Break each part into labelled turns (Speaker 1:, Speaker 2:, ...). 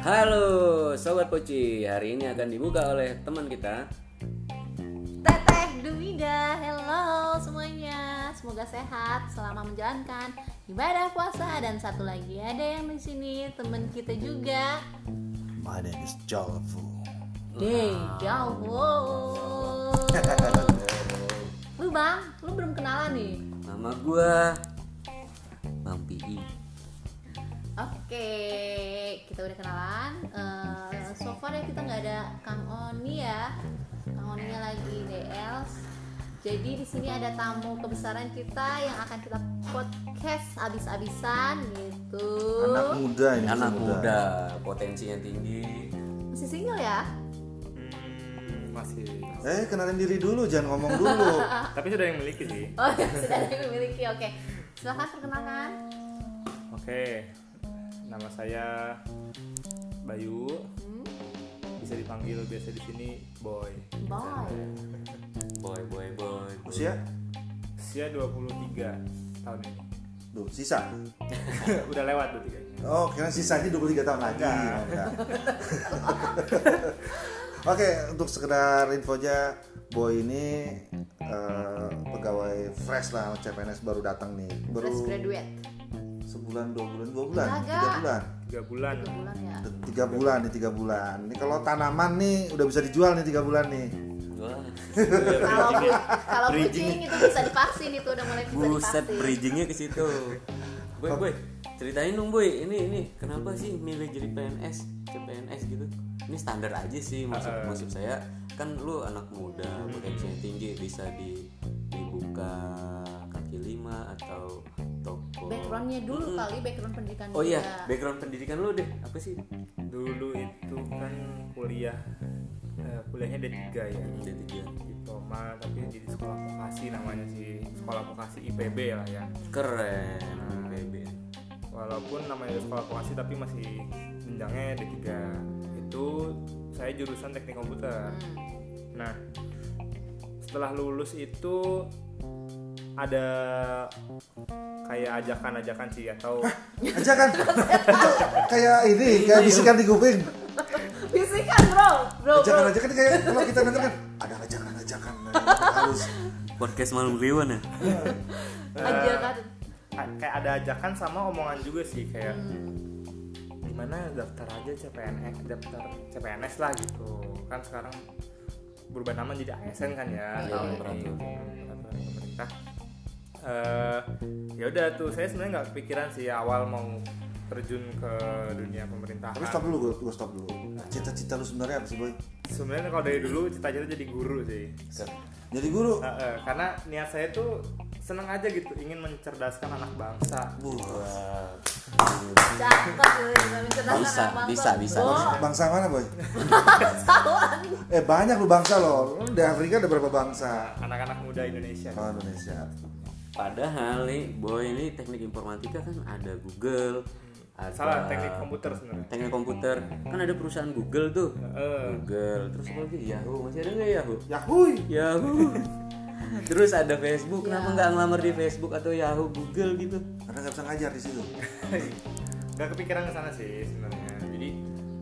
Speaker 1: Halo Sobat Poci, hari ini akan dibuka oleh teman kita
Speaker 2: Teteh Dumida, hello semuanya. Semoga sehat selama menjalankan ibadah puasa dan satu lagi ada yang di sini teman kita juga.
Speaker 3: My name is Jolfu.
Speaker 2: Deh, jauh. Lu bang, lu belum kenalan nih.
Speaker 1: Nama gua Bang Pi
Speaker 2: Oke, kita udah kenalan. Eh, so far ya kita nggak ada Kang Oni ya. Kang Oninya lagi DL. Jadi di sini ada tamu kebesaran kita yang akan kita podcast abis-abisan gitu.
Speaker 3: Anak muda ini.
Speaker 1: Anak
Speaker 3: masih
Speaker 1: muda, potensinya tinggi
Speaker 2: Masih single ya?
Speaker 4: Hmm, masih.
Speaker 3: Eh kenalin diri dulu, jangan ngomong dulu.
Speaker 4: Tapi sudah yang memiliki sih.
Speaker 2: Oh, ya, sudah ada yang memiliki. Oke. Silahkan perkenalkan.
Speaker 4: Oke. Nama saya Bayu.
Speaker 2: Hmm,
Speaker 4: Bisa dipanggil biasa di sini Boy.
Speaker 2: boy.
Speaker 1: Boy, boy, boy
Speaker 3: Usia?
Speaker 4: Usia 23 tahun ini.
Speaker 3: Duh, sisa.
Speaker 4: Udah lewat 23
Speaker 3: Oh, kira sisanya 23 tahun lagi.
Speaker 4: Nah.
Speaker 3: Oh, enggak. Oke, untuk sekedar infonya, Boy ini eh, pegawai fresh lah, CPNS baru datang nih.
Speaker 2: Fresh
Speaker 3: Baru
Speaker 2: graduate.
Speaker 3: sebulan, dua bulan, dua bulan,
Speaker 2: Enggak,
Speaker 3: tiga
Speaker 2: enggak.
Speaker 3: bulan.
Speaker 4: 3 bulan.
Speaker 2: Tiga bulan ya.
Speaker 3: Tiga bulan nih, tiga bulan. Ini kalau tanaman nih udah bisa dijual nih tiga bulan nih.
Speaker 1: Wah,
Speaker 2: Kalau bu- kalau
Speaker 1: ya. Bridging.
Speaker 2: kucing itu bisa divaksin itu udah mulai bisa
Speaker 1: buset
Speaker 2: divaksin.
Speaker 1: bridgingnya ke situ Boy, boy, ceritain dong boy Ini, ini, kenapa sih milih jadi PNS, CPNS gitu Ini standar aja sih, maksud,
Speaker 4: Uh-uh.
Speaker 1: maksud saya Kan lu anak muda, potensinya tinggi Bisa di, dibuka kaki lima atau toko
Speaker 2: backgroundnya dulu kali background pendidikan
Speaker 1: Hmm. Oh iya,
Speaker 2: dia.
Speaker 1: background pendidikan lu deh, apa sih?
Speaker 4: Dulu itu kan kuliah eh, kuliahnya D3 ya.
Speaker 1: Jadi dia
Speaker 4: Diploma tapi jadi sekolah vokasi namanya sih. Sekolah vokasi IPB lah ya.
Speaker 1: keren, baby.
Speaker 4: walaupun namanya sekolah vokasi tapi masih jenjangnya D3 itu saya jurusan teknik komputer nah setelah lulus itu ada kayak ajakan-ajakan sih atau
Speaker 3: aja kan itu kayak ini kayak bisikan di kuping
Speaker 2: bisikan bro bro bro
Speaker 3: ajakan aja kan kayak kalau kita denger kan ada ajakan ajakan harus
Speaker 1: Podcast malam ribuan ya?
Speaker 2: ajakan
Speaker 4: a- kayak ada ajakan sama omongan juga sih kayak
Speaker 1: Hmm.
Speaker 4: gimana daftar aja CPNS eh, daftar CPNS lah gitu kan sekarang berubah nama jadi ASN kan ya
Speaker 1: Iya, iya,
Speaker 4: tahun ini
Speaker 1: peraturan.
Speaker 4: peraturan pemerintah Eh, ya udah tuh saya sebenarnya nggak kepikiran sih awal mau terjun ke dunia pemerintahan
Speaker 3: tapi stop dulu gue gue stop dulu Nah, cita-cita lu sebenarnya apa sih boy
Speaker 4: sebenarnya kalau dari dulu cita-cita jadi guru sih
Speaker 3: jadi guru
Speaker 4: Eh, eh, karena niat saya tuh seneng aja gitu ingin mencerdaskan anak bangsa
Speaker 3: Wah,
Speaker 2: cakep lu, bisa mencerdaskan
Speaker 1: Bisa,
Speaker 2: anak bangsa.
Speaker 1: bisa, bisa,
Speaker 2: Bro,
Speaker 1: bisa.
Speaker 3: bangsa mana boy
Speaker 2: bangsawan.
Speaker 3: eh banyak lu bangsa loh Lu di Afrika ada berapa bangsa
Speaker 4: anak-anak muda Indonesia
Speaker 3: oh Indonesia
Speaker 1: Padahal nih, boy ini teknik informatika kan ada Google, ada
Speaker 4: salah teknik komputer sebenarnya
Speaker 1: teknik komputer, kan ada perusahaan Google tuh,
Speaker 4: Eh,
Speaker 1: Google, terus apa lagi Yahoo, masih ada nggak Yahoo?
Speaker 3: Yahui
Speaker 1: Yahoo. terus ada Facebook, kenapa nggak ngelamar di Facebook atau Yahoo, Google gitu?
Speaker 3: karena nggak bisa ngajar di situ
Speaker 4: nggak kepikiran ke sana sih sebenarnya jadi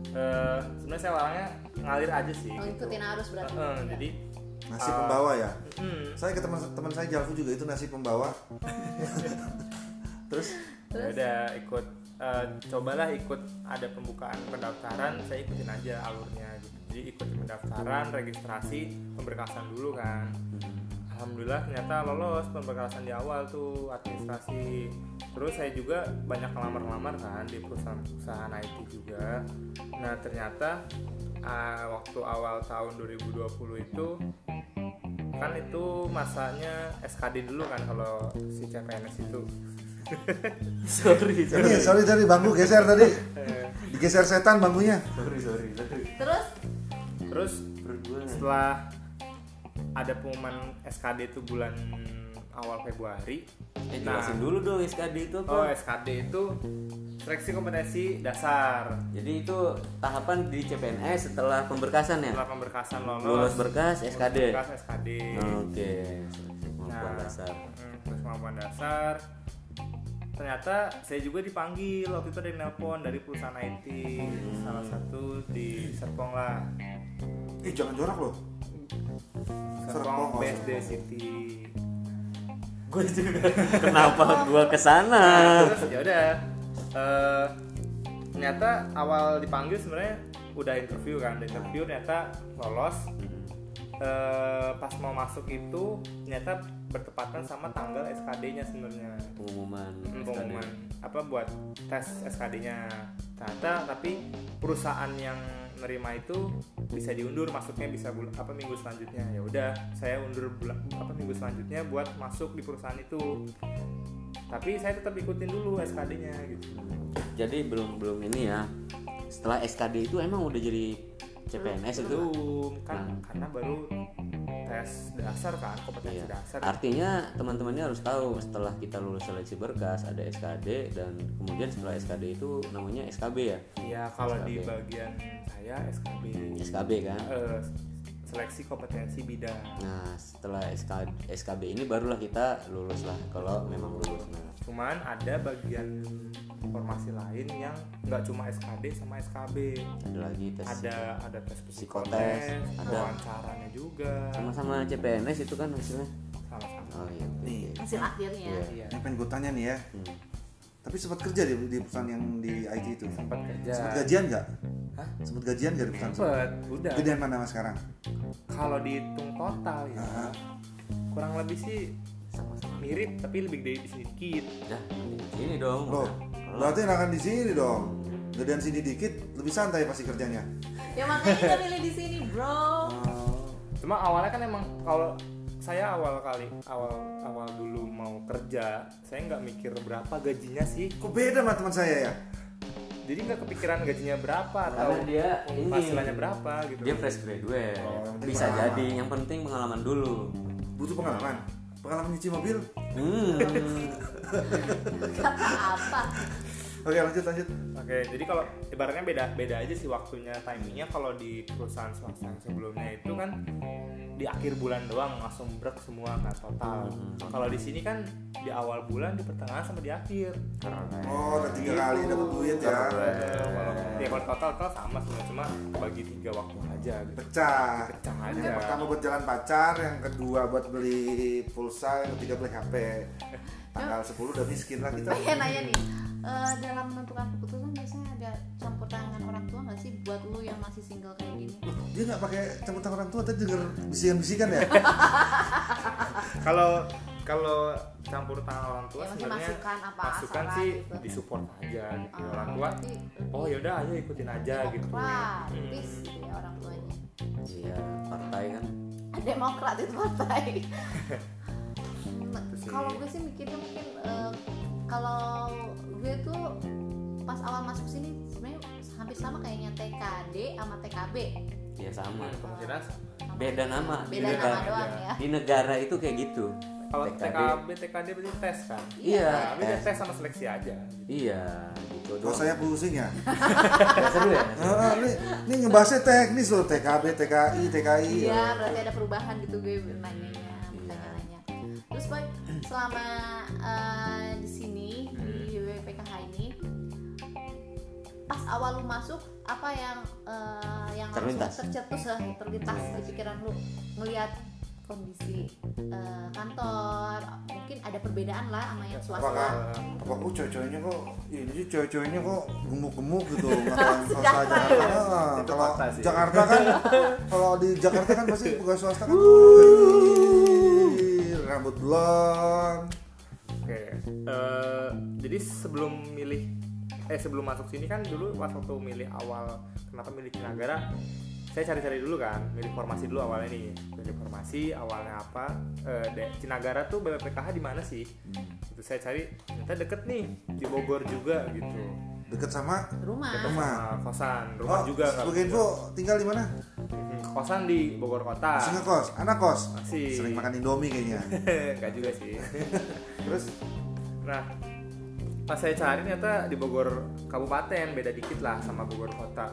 Speaker 4: eh, sebenarnya saya orangnya ngalir aja sih
Speaker 2: Oh,
Speaker 4: gitu.
Speaker 2: ikutin arus berarti.
Speaker 4: Eh, eh, jadi
Speaker 3: nasi pembawa ya
Speaker 4: hmm,
Speaker 3: saya ke teman teman saya Jalfu juga itu nasi pembawa terus
Speaker 2: Terus?
Speaker 4: Ya udah ikut eh, cobalah ikut ada pembukaan pendaftaran saya ikutin aja alurnya gitu jadi ikutin pendaftaran registrasi pemberkasan dulu kan alhamdulillah ternyata lolos pemberkasan di awal tuh administrasi terus saya juga banyak ngelamar-ngelamar kan di perusahaan-perusahaan IT juga nah ternyata ah, waktu awal tahun 2020 itu kan itu masanya SKD dulu kan kalau si CPNS itu
Speaker 1: Sorry,
Speaker 3: ini Iya, sorry tadi bangku geser tadi digeser setan bangkunya
Speaker 4: sorry sorry sorry
Speaker 2: terus
Speaker 4: terus
Speaker 1: Hmm.
Speaker 4: setelah ada pengumuman SKD itu bulan awal Februari
Speaker 1: Eh,
Speaker 4: nah
Speaker 1: jelasin dulu dong SKD itu
Speaker 4: oh
Speaker 1: apa?
Speaker 4: SKD itu seleksi kompetensi dasar
Speaker 1: Jadi itu tahapan di CPNS setelah pemberkasan ya?
Speaker 4: setelah pemberkasan lolos
Speaker 1: Lulus berkas, SKD.
Speaker 4: berkas SKD
Speaker 1: Oke, seleksi kemampuan
Speaker 4: Nah,
Speaker 1: Oh, dasar.
Speaker 4: mm, terus kemampuan dasar ternyata saya juga dipanggil waktu itu ada yang nelpon dari perusahaan IT salah satu di Serpong lah
Speaker 3: Eh jangan jorok loh. Serpong,
Speaker 4: Serpong
Speaker 3: oh,
Speaker 4: BSD
Speaker 3: Serpong.
Speaker 4: City
Speaker 1: gue juga kenapa gue kesana
Speaker 4: Nah, terus ya udah eh, ternyata awal dipanggil sebenarnya udah interview kan udah interview ternyata lolos Eh, pas mau masuk itu ternyata bertepatan sama tanggal SKD-nya sebenarnya
Speaker 1: pengumuman SKD.
Speaker 4: Hmm, pengumuman apa buat tes SKD-nya ternyata tapi perusahaan yang nerima itu bisa diundur masuknya bisa bul- apa minggu selanjutnya ya udah saya undur bulan apa minggu selanjutnya buat masuk di perusahaan itu tapi saya tetap ikutin dulu SKD-nya gitu
Speaker 1: jadi belum belum ini ya setelah SKD itu emang udah jadi CPNS itu
Speaker 4: belum kan
Speaker 1: Hmm.
Speaker 4: karena baru tes dasar kan kompetensi
Speaker 1: Iya.
Speaker 4: dasar
Speaker 1: Artinya teman-temannya harus tahu setelah kita lulus seleksi berkas ada SKD dan kemudian setelah SKD itu namanya SKB ya.
Speaker 4: ya kalau di
Speaker 1: SKB.
Speaker 4: bagian saya SKB
Speaker 1: SKB kan.
Speaker 4: eh, seleksi kompetensi bidang
Speaker 1: Nah, setelah SK, SKB ini barulah kita lulus lah kalau memang lulus. Nah,
Speaker 4: cuman ada bagian formasi lain yang nggak cuma SKD sama SKB
Speaker 1: ada lagi tes
Speaker 4: ada ada tes
Speaker 1: Psikotes,
Speaker 4: psikotes
Speaker 1: ada.
Speaker 4: wawancaranya juga
Speaker 1: sama-sama CPNS itu kan hasilnya.
Speaker 4: sama-sama
Speaker 1: Oh iya. oke,
Speaker 3: Nih.
Speaker 1: oke.
Speaker 2: hasil akhirnya
Speaker 1: Iya.
Speaker 4: iya
Speaker 3: Ini pengen gue tanya nih ya.
Speaker 1: Hmm.
Speaker 3: Tapi sempat kerja di, di perusahaan yang di IT itu.
Speaker 4: sempat kerja
Speaker 3: Sempat gajian nggak?
Speaker 4: Ya. Hah?
Speaker 3: Sempat gajian nggak di perusahaan?
Speaker 4: sempet udah
Speaker 3: Gedean mana mas sekarang?
Speaker 4: kalau dihitung total ya
Speaker 3: Aha.
Speaker 4: kurang lebih sih
Speaker 1: Sama-sama.
Speaker 4: mirip tapi lebih gede sedikit
Speaker 1: Dah, ini dong.
Speaker 3: Loh, berarti enakan di sini dong. Gedean sini dikit, lebih santai pasti kerjanya.
Speaker 2: ya makanya kita milih di sini bro
Speaker 4: cuma awalnya kan emang kalau saya awal kali awal awal dulu mau kerja saya nggak mikir berapa gajinya sih
Speaker 3: Kok beda sama teman saya ya?
Speaker 4: jadi nggak kepikiran gajinya berapa atau
Speaker 1: Karena dia ini.
Speaker 4: penghasilannya berapa gitu
Speaker 1: Dia fresh graduate.
Speaker 3: Oh, yang penting
Speaker 1: Bisa
Speaker 3: pengalaman.
Speaker 1: jadi, yang penting pengalaman dulu.
Speaker 3: Butuh pengalaman. Pengalaman nyuci mobil.
Speaker 1: Hmm.
Speaker 2: kata apa
Speaker 3: Oke lanjut lanjut.
Speaker 4: Oke, jadi kalau ibaratnya beda beda aja sih waktunya timingnya kalau di perusahaan swasta yang sebelumnya itu kan di akhir bulan doang langsung brek semua kan total.
Speaker 1: Hmm.
Speaker 4: Kalau di sini kan di awal bulan, di pertengahan sama di akhir.
Speaker 3: Oh, udah tiga kali dapat duit ya.
Speaker 4: Eh, Walaupun ya kalau total total sama sebenarnya cuma bagi tiga waktu aja gitu.
Speaker 3: Pecah.
Speaker 4: Pecah aja.
Speaker 3: Yang pertama buat jalan pacar, yang kedua buat beli pulsa, yang ketiga beli HP. Tanggal 10 udah miskin lah kita.
Speaker 2: pengen nanya nih eh, dalam menentukan keputusan biasanya ada campur tangan orang tua nggak sih buat lu yang masih single kayak gini
Speaker 3: Dia nggak pakai campur tangan orang tua, tadi denger bisikan-bisikan ya.
Speaker 4: Kalau kalau campur tangan orang
Speaker 2: Ya,
Speaker 4: tua
Speaker 2: maksudnya
Speaker 4: sebenarnya
Speaker 2: masukan apa
Speaker 4: masukan
Speaker 2: saran
Speaker 4: sih
Speaker 2: gitu.
Speaker 4: disupport aja gitu.
Speaker 2: Ah,
Speaker 4: orang tua.
Speaker 2: berarti
Speaker 4: Oh yaudah aja ikutin aja gitu. Hmm.
Speaker 2: demokratis gitu ya orang tuanya
Speaker 1: Iya, partai kan.
Speaker 2: demokrat itu partai
Speaker 4: sih.
Speaker 2: kalau gue sih mikirnya mungkin eh, kalau gue tuh pas awal masuk sini sebenarnya hampir sama kayaknya TKD sama TKB
Speaker 1: Ya sama.
Speaker 4: Hmm, Kemungkinan sama.
Speaker 2: Sama-
Speaker 1: Beda nama,
Speaker 2: beda
Speaker 1: beda
Speaker 2: nama
Speaker 1: nama
Speaker 2: doang
Speaker 4: aja.
Speaker 2: ya
Speaker 1: Di negara itu kayak gitu.
Speaker 4: Kalau TKB, TKD berarti tes kan?
Speaker 1: Iya.
Speaker 4: Nah, Tapi dia
Speaker 1: tes.
Speaker 4: tes sama seleksi aja.
Speaker 1: Iya, gitu
Speaker 3: Kalau
Speaker 1: doang.
Speaker 3: saya pusing ya.
Speaker 1: seru ya.
Speaker 3: Ah, ini, ini ngebahasnya teknis loh, TKB, TKI, TKI.
Speaker 2: Iya, berarti ada perubahan gitu gue nanyanya, pertanyaannya. Terus boy, selama eh, di sini di WPKH ini, pas awal lu masuk apa yang eh, yang
Speaker 1: Terlintas.
Speaker 2: langsung tercetus lah, terlintas di pikiran lu ngelihat kondisi eh, kantor, mungkin ada perbedaan lah sama yang swasta.
Speaker 3: Apakah apa kok cowok-cowoknya kok ya ini sih cowok-cowoknya kok gemuk-gemuk gitu ngatain swasta
Speaker 2: Jakarta
Speaker 3: Jakarta. Ah,
Speaker 4: Itu
Speaker 3: kalau
Speaker 4: kota sih.
Speaker 3: Jakarta kan kalau di Jakarta kan pasti pegawai swasta kan
Speaker 4: Uh.
Speaker 3: wih, rambut blond.
Speaker 4: Oke. eh, jadi sebelum milih eh sebelum masuk sini kan dulu pas waktu milih awal kenapa milih Kinagara saya cari-cari dulu kan milih formasi dulu awalnya nih milih formasi awalnya apa eh de- Cinagara tuh BPPKH di mana sih itu saya cari ternyata deket nih di Bogor juga gitu
Speaker 3: Deket sama
Speaker 2: Rumah.
Speaker 4: deket
Speaker 3: Rumah.
Speaker 4: sama kosan rumah
Speaker 3: oh,
Speaker 4: juga nggak
Speaker 3: Sebagai info tinggal di mana?
Speaker 4: Hmm, kosan di Bogor kota
Speaker 3: Masih ngekos, anak kos.
Speaker 4: Ah. Masih.
Speaker 3: Sering makan Indomie kayaknya.
Speaker 4: Enggak juga sih. Terus nah pas saya cari ternyata di Bogor kabupaten beda dikit lah sama Bogor kota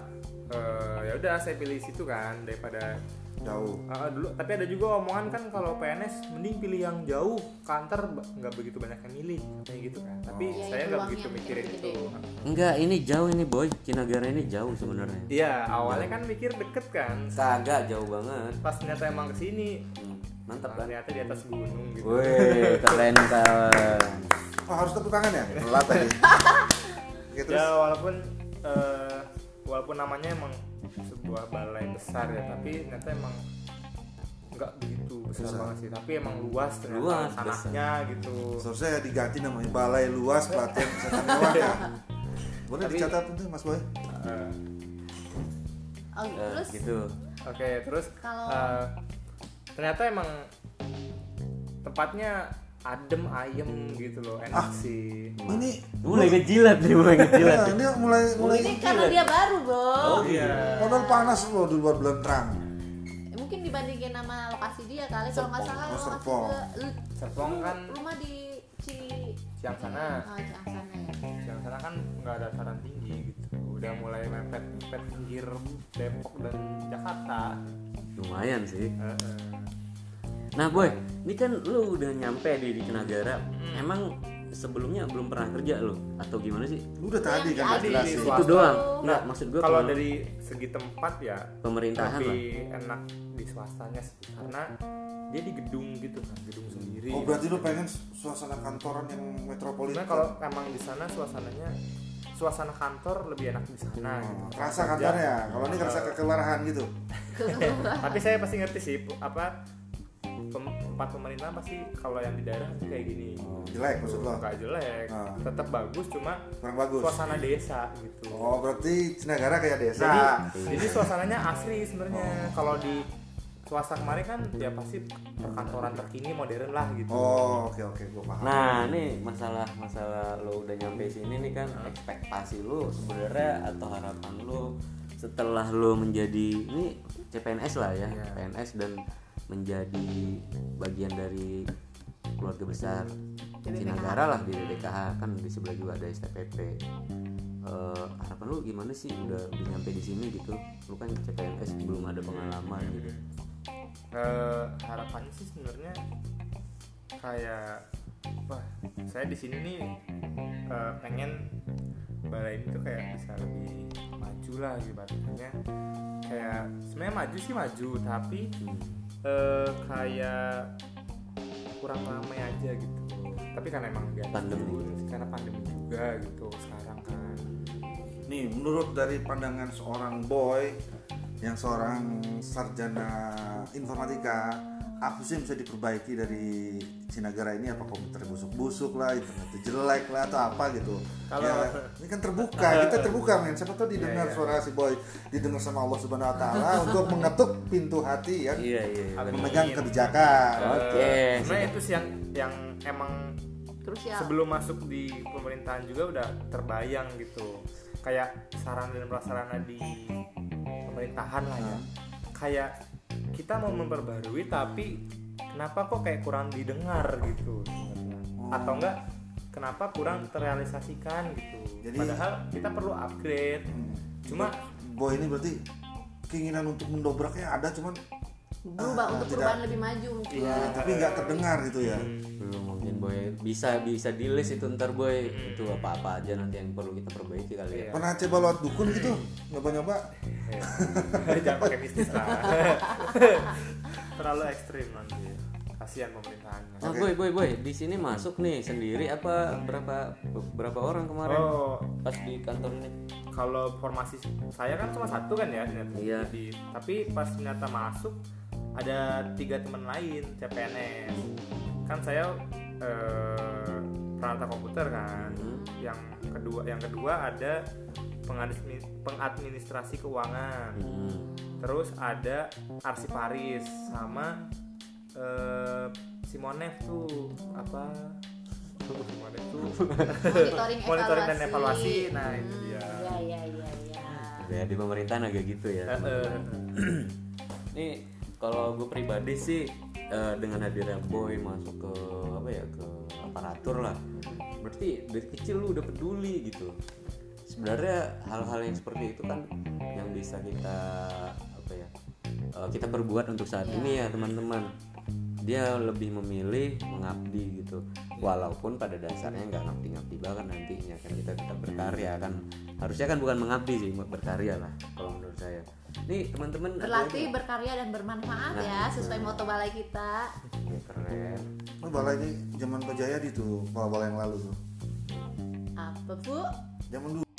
Speaker 4: Eh, ya udah saya pilih situ kan daripada
Speaker 3: jauh
Speaker 4: Ah, dulu tapi ada juga omongan kan kalau PNS mending pilih yang jauh kantor ba- nggak begitu banyak yang milih kayak gitu kan tapi
Speaker 2: Iya,
Speaker 4: saya
Speaker 2: itu
Speaker 4: nggak
Speaker 2: uangnya
Speaker 4: begitu
Speaker 2: mungkin
Speaker 4: mikirin
Speaker 2: gede.
Speaker 4: itu
Speaker 1: Enggak, ini jauh ini boy. Cinagara ini jauh sebenarnya.
Speaker 4: iya awalnya kan mikir deket kan
Speaker 1: Kagak jauh banget.
Speaker 4: pas ternyata emang kesini
Speaker 1: Hmm, Mantap kan?
Speaker 4: ternyata di atas gunung gitu
Speaker 1: Wih, keren kawan.
Speaker 3: oh, harus tepuk tangan ya telat tadi Oke, terus
Speaker 4: ya walaupun eh, walaupun namanya emang sebuah balai besar ya tapi ternyata emang nggak begitu besar banget sih tapi emang luas ternyata
Speaker 1: Luas,
Speaker 4: tanahnya gitu
Speaker 3: seharusnya diganti namanya balai luas pelatihan kesehatan mewah ya boleh
Speaker 4: Tapi-
Speaker 3: dicatat tuh mas boy
Speaker 4: Eh,
Speaker 2: Oh,
Speaker 1: Eh,
Speaker 2: terus
Speaker 1: gitu.
Speaker 4: Oke, terus
Speaker 2: Kalau-
Speaker 4: eh, ternyata emang tempatnya adem ayem gitu loh, enak sih.
Speaker 3: ini
Speaker 1: Mulai ngejilat nih, mulai ngejilat.
Speaker 3: Nah, dia mulai mulai
Speaker 2: ini karena dia baru bro
Speaker 3: Oh,
Speaker 4: iya.
Speaker 3: modal panas loh di luar bulan terang
Speaker 2: Eh, mungkin dibandingin sama lokasi dia kali kalau nggak salah
Speaker 3: Oh,
Speaker 2: lokasi
Speaker 3: Serpong.
Speaker 2: ke lu-
Speaker 4: Serpong
Speaker 2: lu-
Speaker 4: kan
Speaker 2: rumah di Ci
Speaker 4: siang sana,
Speaker 2: oh, Ciang sana ya
Speaker 4: siang sana kan nggak ada dataran tinggi gitu. Udah mulai mepet mepet pinggir Depok dan Jakarta.
Speaker 1: Lumayan sih.
Speaker 4: Eh, eh.
Speaker 1: Nah boy, ini kan lu udah nyampe di, di Cinagara. Emang sebelumnya belum pernah kerja lu atau gimana sih?
Speaker 3: lu udah
Speaker 2: Iya,
Speaker 3: tadi kan udah
Speaker 4: Tadi
Speaker 3: jelasin
Speaker 4: di
Speaker 1: Itu
Speaker 4: swasta.
Speaker 1: doang.
Speaker 2: Nah,
Speaker 1: Enggak, maksud gua
Speaker 4: Nah, Kalau
Speaker 1: kalau
Speaker 4: dari segi tempat ya
Speaker 1: pemerintahan lah.
Speaker 4: lebih enak di swastanya sih. karena dia di gedung gitu kan, gedung sendiri.
Speaker 3: Oh berarti lu pengen suasana kantoran yang metropolitan?
Speaker 4: Sebenarnya kalau
Speaker 3: kan?
Speaker 4: emang di sana suasananya suasana kantor lebih enak di sana gitu.
Speaker 3: Hmm, kerasa kantornya ya? Kalau ini kerasa kekelarahan gitu.
Speaker 4: Tapi saya pasti ngerti sih pu- apa pem- tempat pemerintah pasti kalau yang di daerah tuh kayak gini.
Speaker 3: Oh, Jelek maksud lo?
Speaker 4: Enggak jelek,
Speaker 3: Ah.
Speaker 4: tetap bagus cuma
Speaker 3: Kurang bagus.
Speaker 4: suasana desa gitu.
Speaker 3: Oh berarti Cinagara kayak desa.
Speaker 4: Jadi jadi suasananya asri sebenarnya. Kalau di swasta kemarin kan ya pasti perkantoran terkini modern lah gitu.
Speaker 3: Oh oke oke gua paham.
Speaker 1: Nah, ini masalah masalah lo udah nyampe sini nih kan ekspektasi lo sebenarnya atau harapan lo setelah lo menjadi ini CPNS lah ya,
Speaker 4: Iya.
Speaker 1: CPNS dan menjadi bagian dari keluarga besar
Speaker 2: BPKH.
Speaker 1: Cinagara lah di BPKH kan di sebelah juga ada STPP. Eh, harapan lo gimana sih udah nyampe di sini gitu? Lo kan CPNS belum ada pengalaman
Speaker 4: Iya,
Speaker 1: gitu.
Speaker 4: Eh, harapannya sih sebenarnya kayak wah saya di sini nih eh, pengen balai ini tuh kayak bisa lebih maju lah ibaratnya kayak sebenarnya maju sih maju tapi eh, kayak kurang ramai aja gitu tapi karena emang dia
Speaker 1: Pandemi.
Speaker 4: karena pandemi juga gitu sekarang kan
Speaker 3: Nih menurut dari pandangan seorang boy yang seorang sarjana informatika apa sih yang bisa diperbaiki dari Cinagara ini apa komputer busuk-busuk lah internetnya jelek lah atau apa gitu
Speaker 4: Kalau-
Speaker 3: ya, ini kan terbuka kita terbuka men siapa tahu didengar
Speaker 4: Iya, iya.
Speaker 3: suara si boy didengar sama Allah Subhanahu Wa Taala untuk mengetuk pintu hati ya
Speaker 1: Iya iya. iya.
Speaker 4: Amin.
Speaker 3: memegang kebijakan Nah,
Speaker 1: Oke,
Speaker 4: Eh, sebenarnya
Speaker 1: sudah.
Speaker 4: itu sih yang yang emang
Speaker 1: Nah,
Speaker 2: terus ya
Speaker 4: sebelum masuk di pemerintahan juga udah terbayang gitu kayak sarana dan prasarana di pemerintahan lah
Speaker 3: hmm.
Speaker 4: ya kayak kita mau memperbarui tapi kenapa kok kayak kurang didengar gitu sebenarnya. atau enggak kenapa kurang terrealisasikan gitu
Speaker 3: Jadi- Hmm.
Speaker 4: padahal kita perlu upgrade cuma
Speaker 3: boy ini berarti keinginan untuk mendobraknya ada cuman
Speaker 2: berubah
Speaker 3: Ah,
Speaker 2: untuk
Speaker 3: tidak.
Speaker 2: perubahan lebih maju mungkin
Speaker 4: Iya.
Speaker 3: eh,
Speaker 1: Iya.
Speaker 3: tapi nggak terdengar gitu ya
Speaker 1: belum mungkin boy bisa bisa di list itu ntar boy itu apa apa aja nanti yang perlu kita perbaiki kali ya
Speaker 4: Iya.
Speaker 3: pernah coba lewat dukun gitu nyoba-nyoba
Speaker 4: eh, jangan pakai mistis lah terlalu ekstrim nanti kasihan pemerintahannya
Speaker 1: nah boy boy boy di sini masuk nih sendiri apa berapa berapa orang kemarin
Speaker 4: oh
Speaker 1: pas di kantor ini
Speaker 4: kalau formasi saya kan cuma satu kan ya ternyata
Speaker 1: Iya.
Speaker 4: Di- tapi pas ternyata masuk ada tiga teman lain CPNS kan saya eh, peralatan komputer kan
Speaker 1: Hmm.
Speaker 4: yang kedua yang kedua ada pengadmi- pengadministrasi keuangan
Speaker 1: hmm.
Speaker 4: terus ada arsiparis sama eh, Simonef tuh apa Simonef tuh
Speaker 2: monitoring,
Speaker 4: monitoring dan
Speaker 2: evaluasi.
Speaker 4: evaluasi nah itu dia
Speaker 2: ya ya ya ya
Speaker 1: ya
Speaker 3: Iya.
Speaker 1: di pemerintahan agak gitu ya
Speaker 4: Eh, eh,
Speaker 1: Nih kalau gue pribadi sih eh, dengan hadirnya boy masuk ke apa ya ke apa aparatur lah berarti dari kecil lu udah peduli gitu sebenarnya hal-hal yang seperti itu kan yang bisa kita apa ya eh, kita perbuat untuk saat ini ya teman-teman dia lebih memilih mengabdi gitu walaupun pada dasarnya nggak ngabdi-ngabdi banget nantinya kan kita tetap berkarya kan harusnya kan bukan mengabdi sih berkarya lah kalau menurut saya nih teman-teman ada
Speaker 2: berlatih berkarya dan bermanfaat
Speaker 3: Iya.
Speaker 2: ya sesuai moto balai kita
Speaker 1: yang- Ya, keren
Speaker 3: Oh, bala ini zaman Pak Jayadi tuh, bala-bala yang lalu tuh.
Speaker 2: apa bu
Speaker 3: Zaman dulu.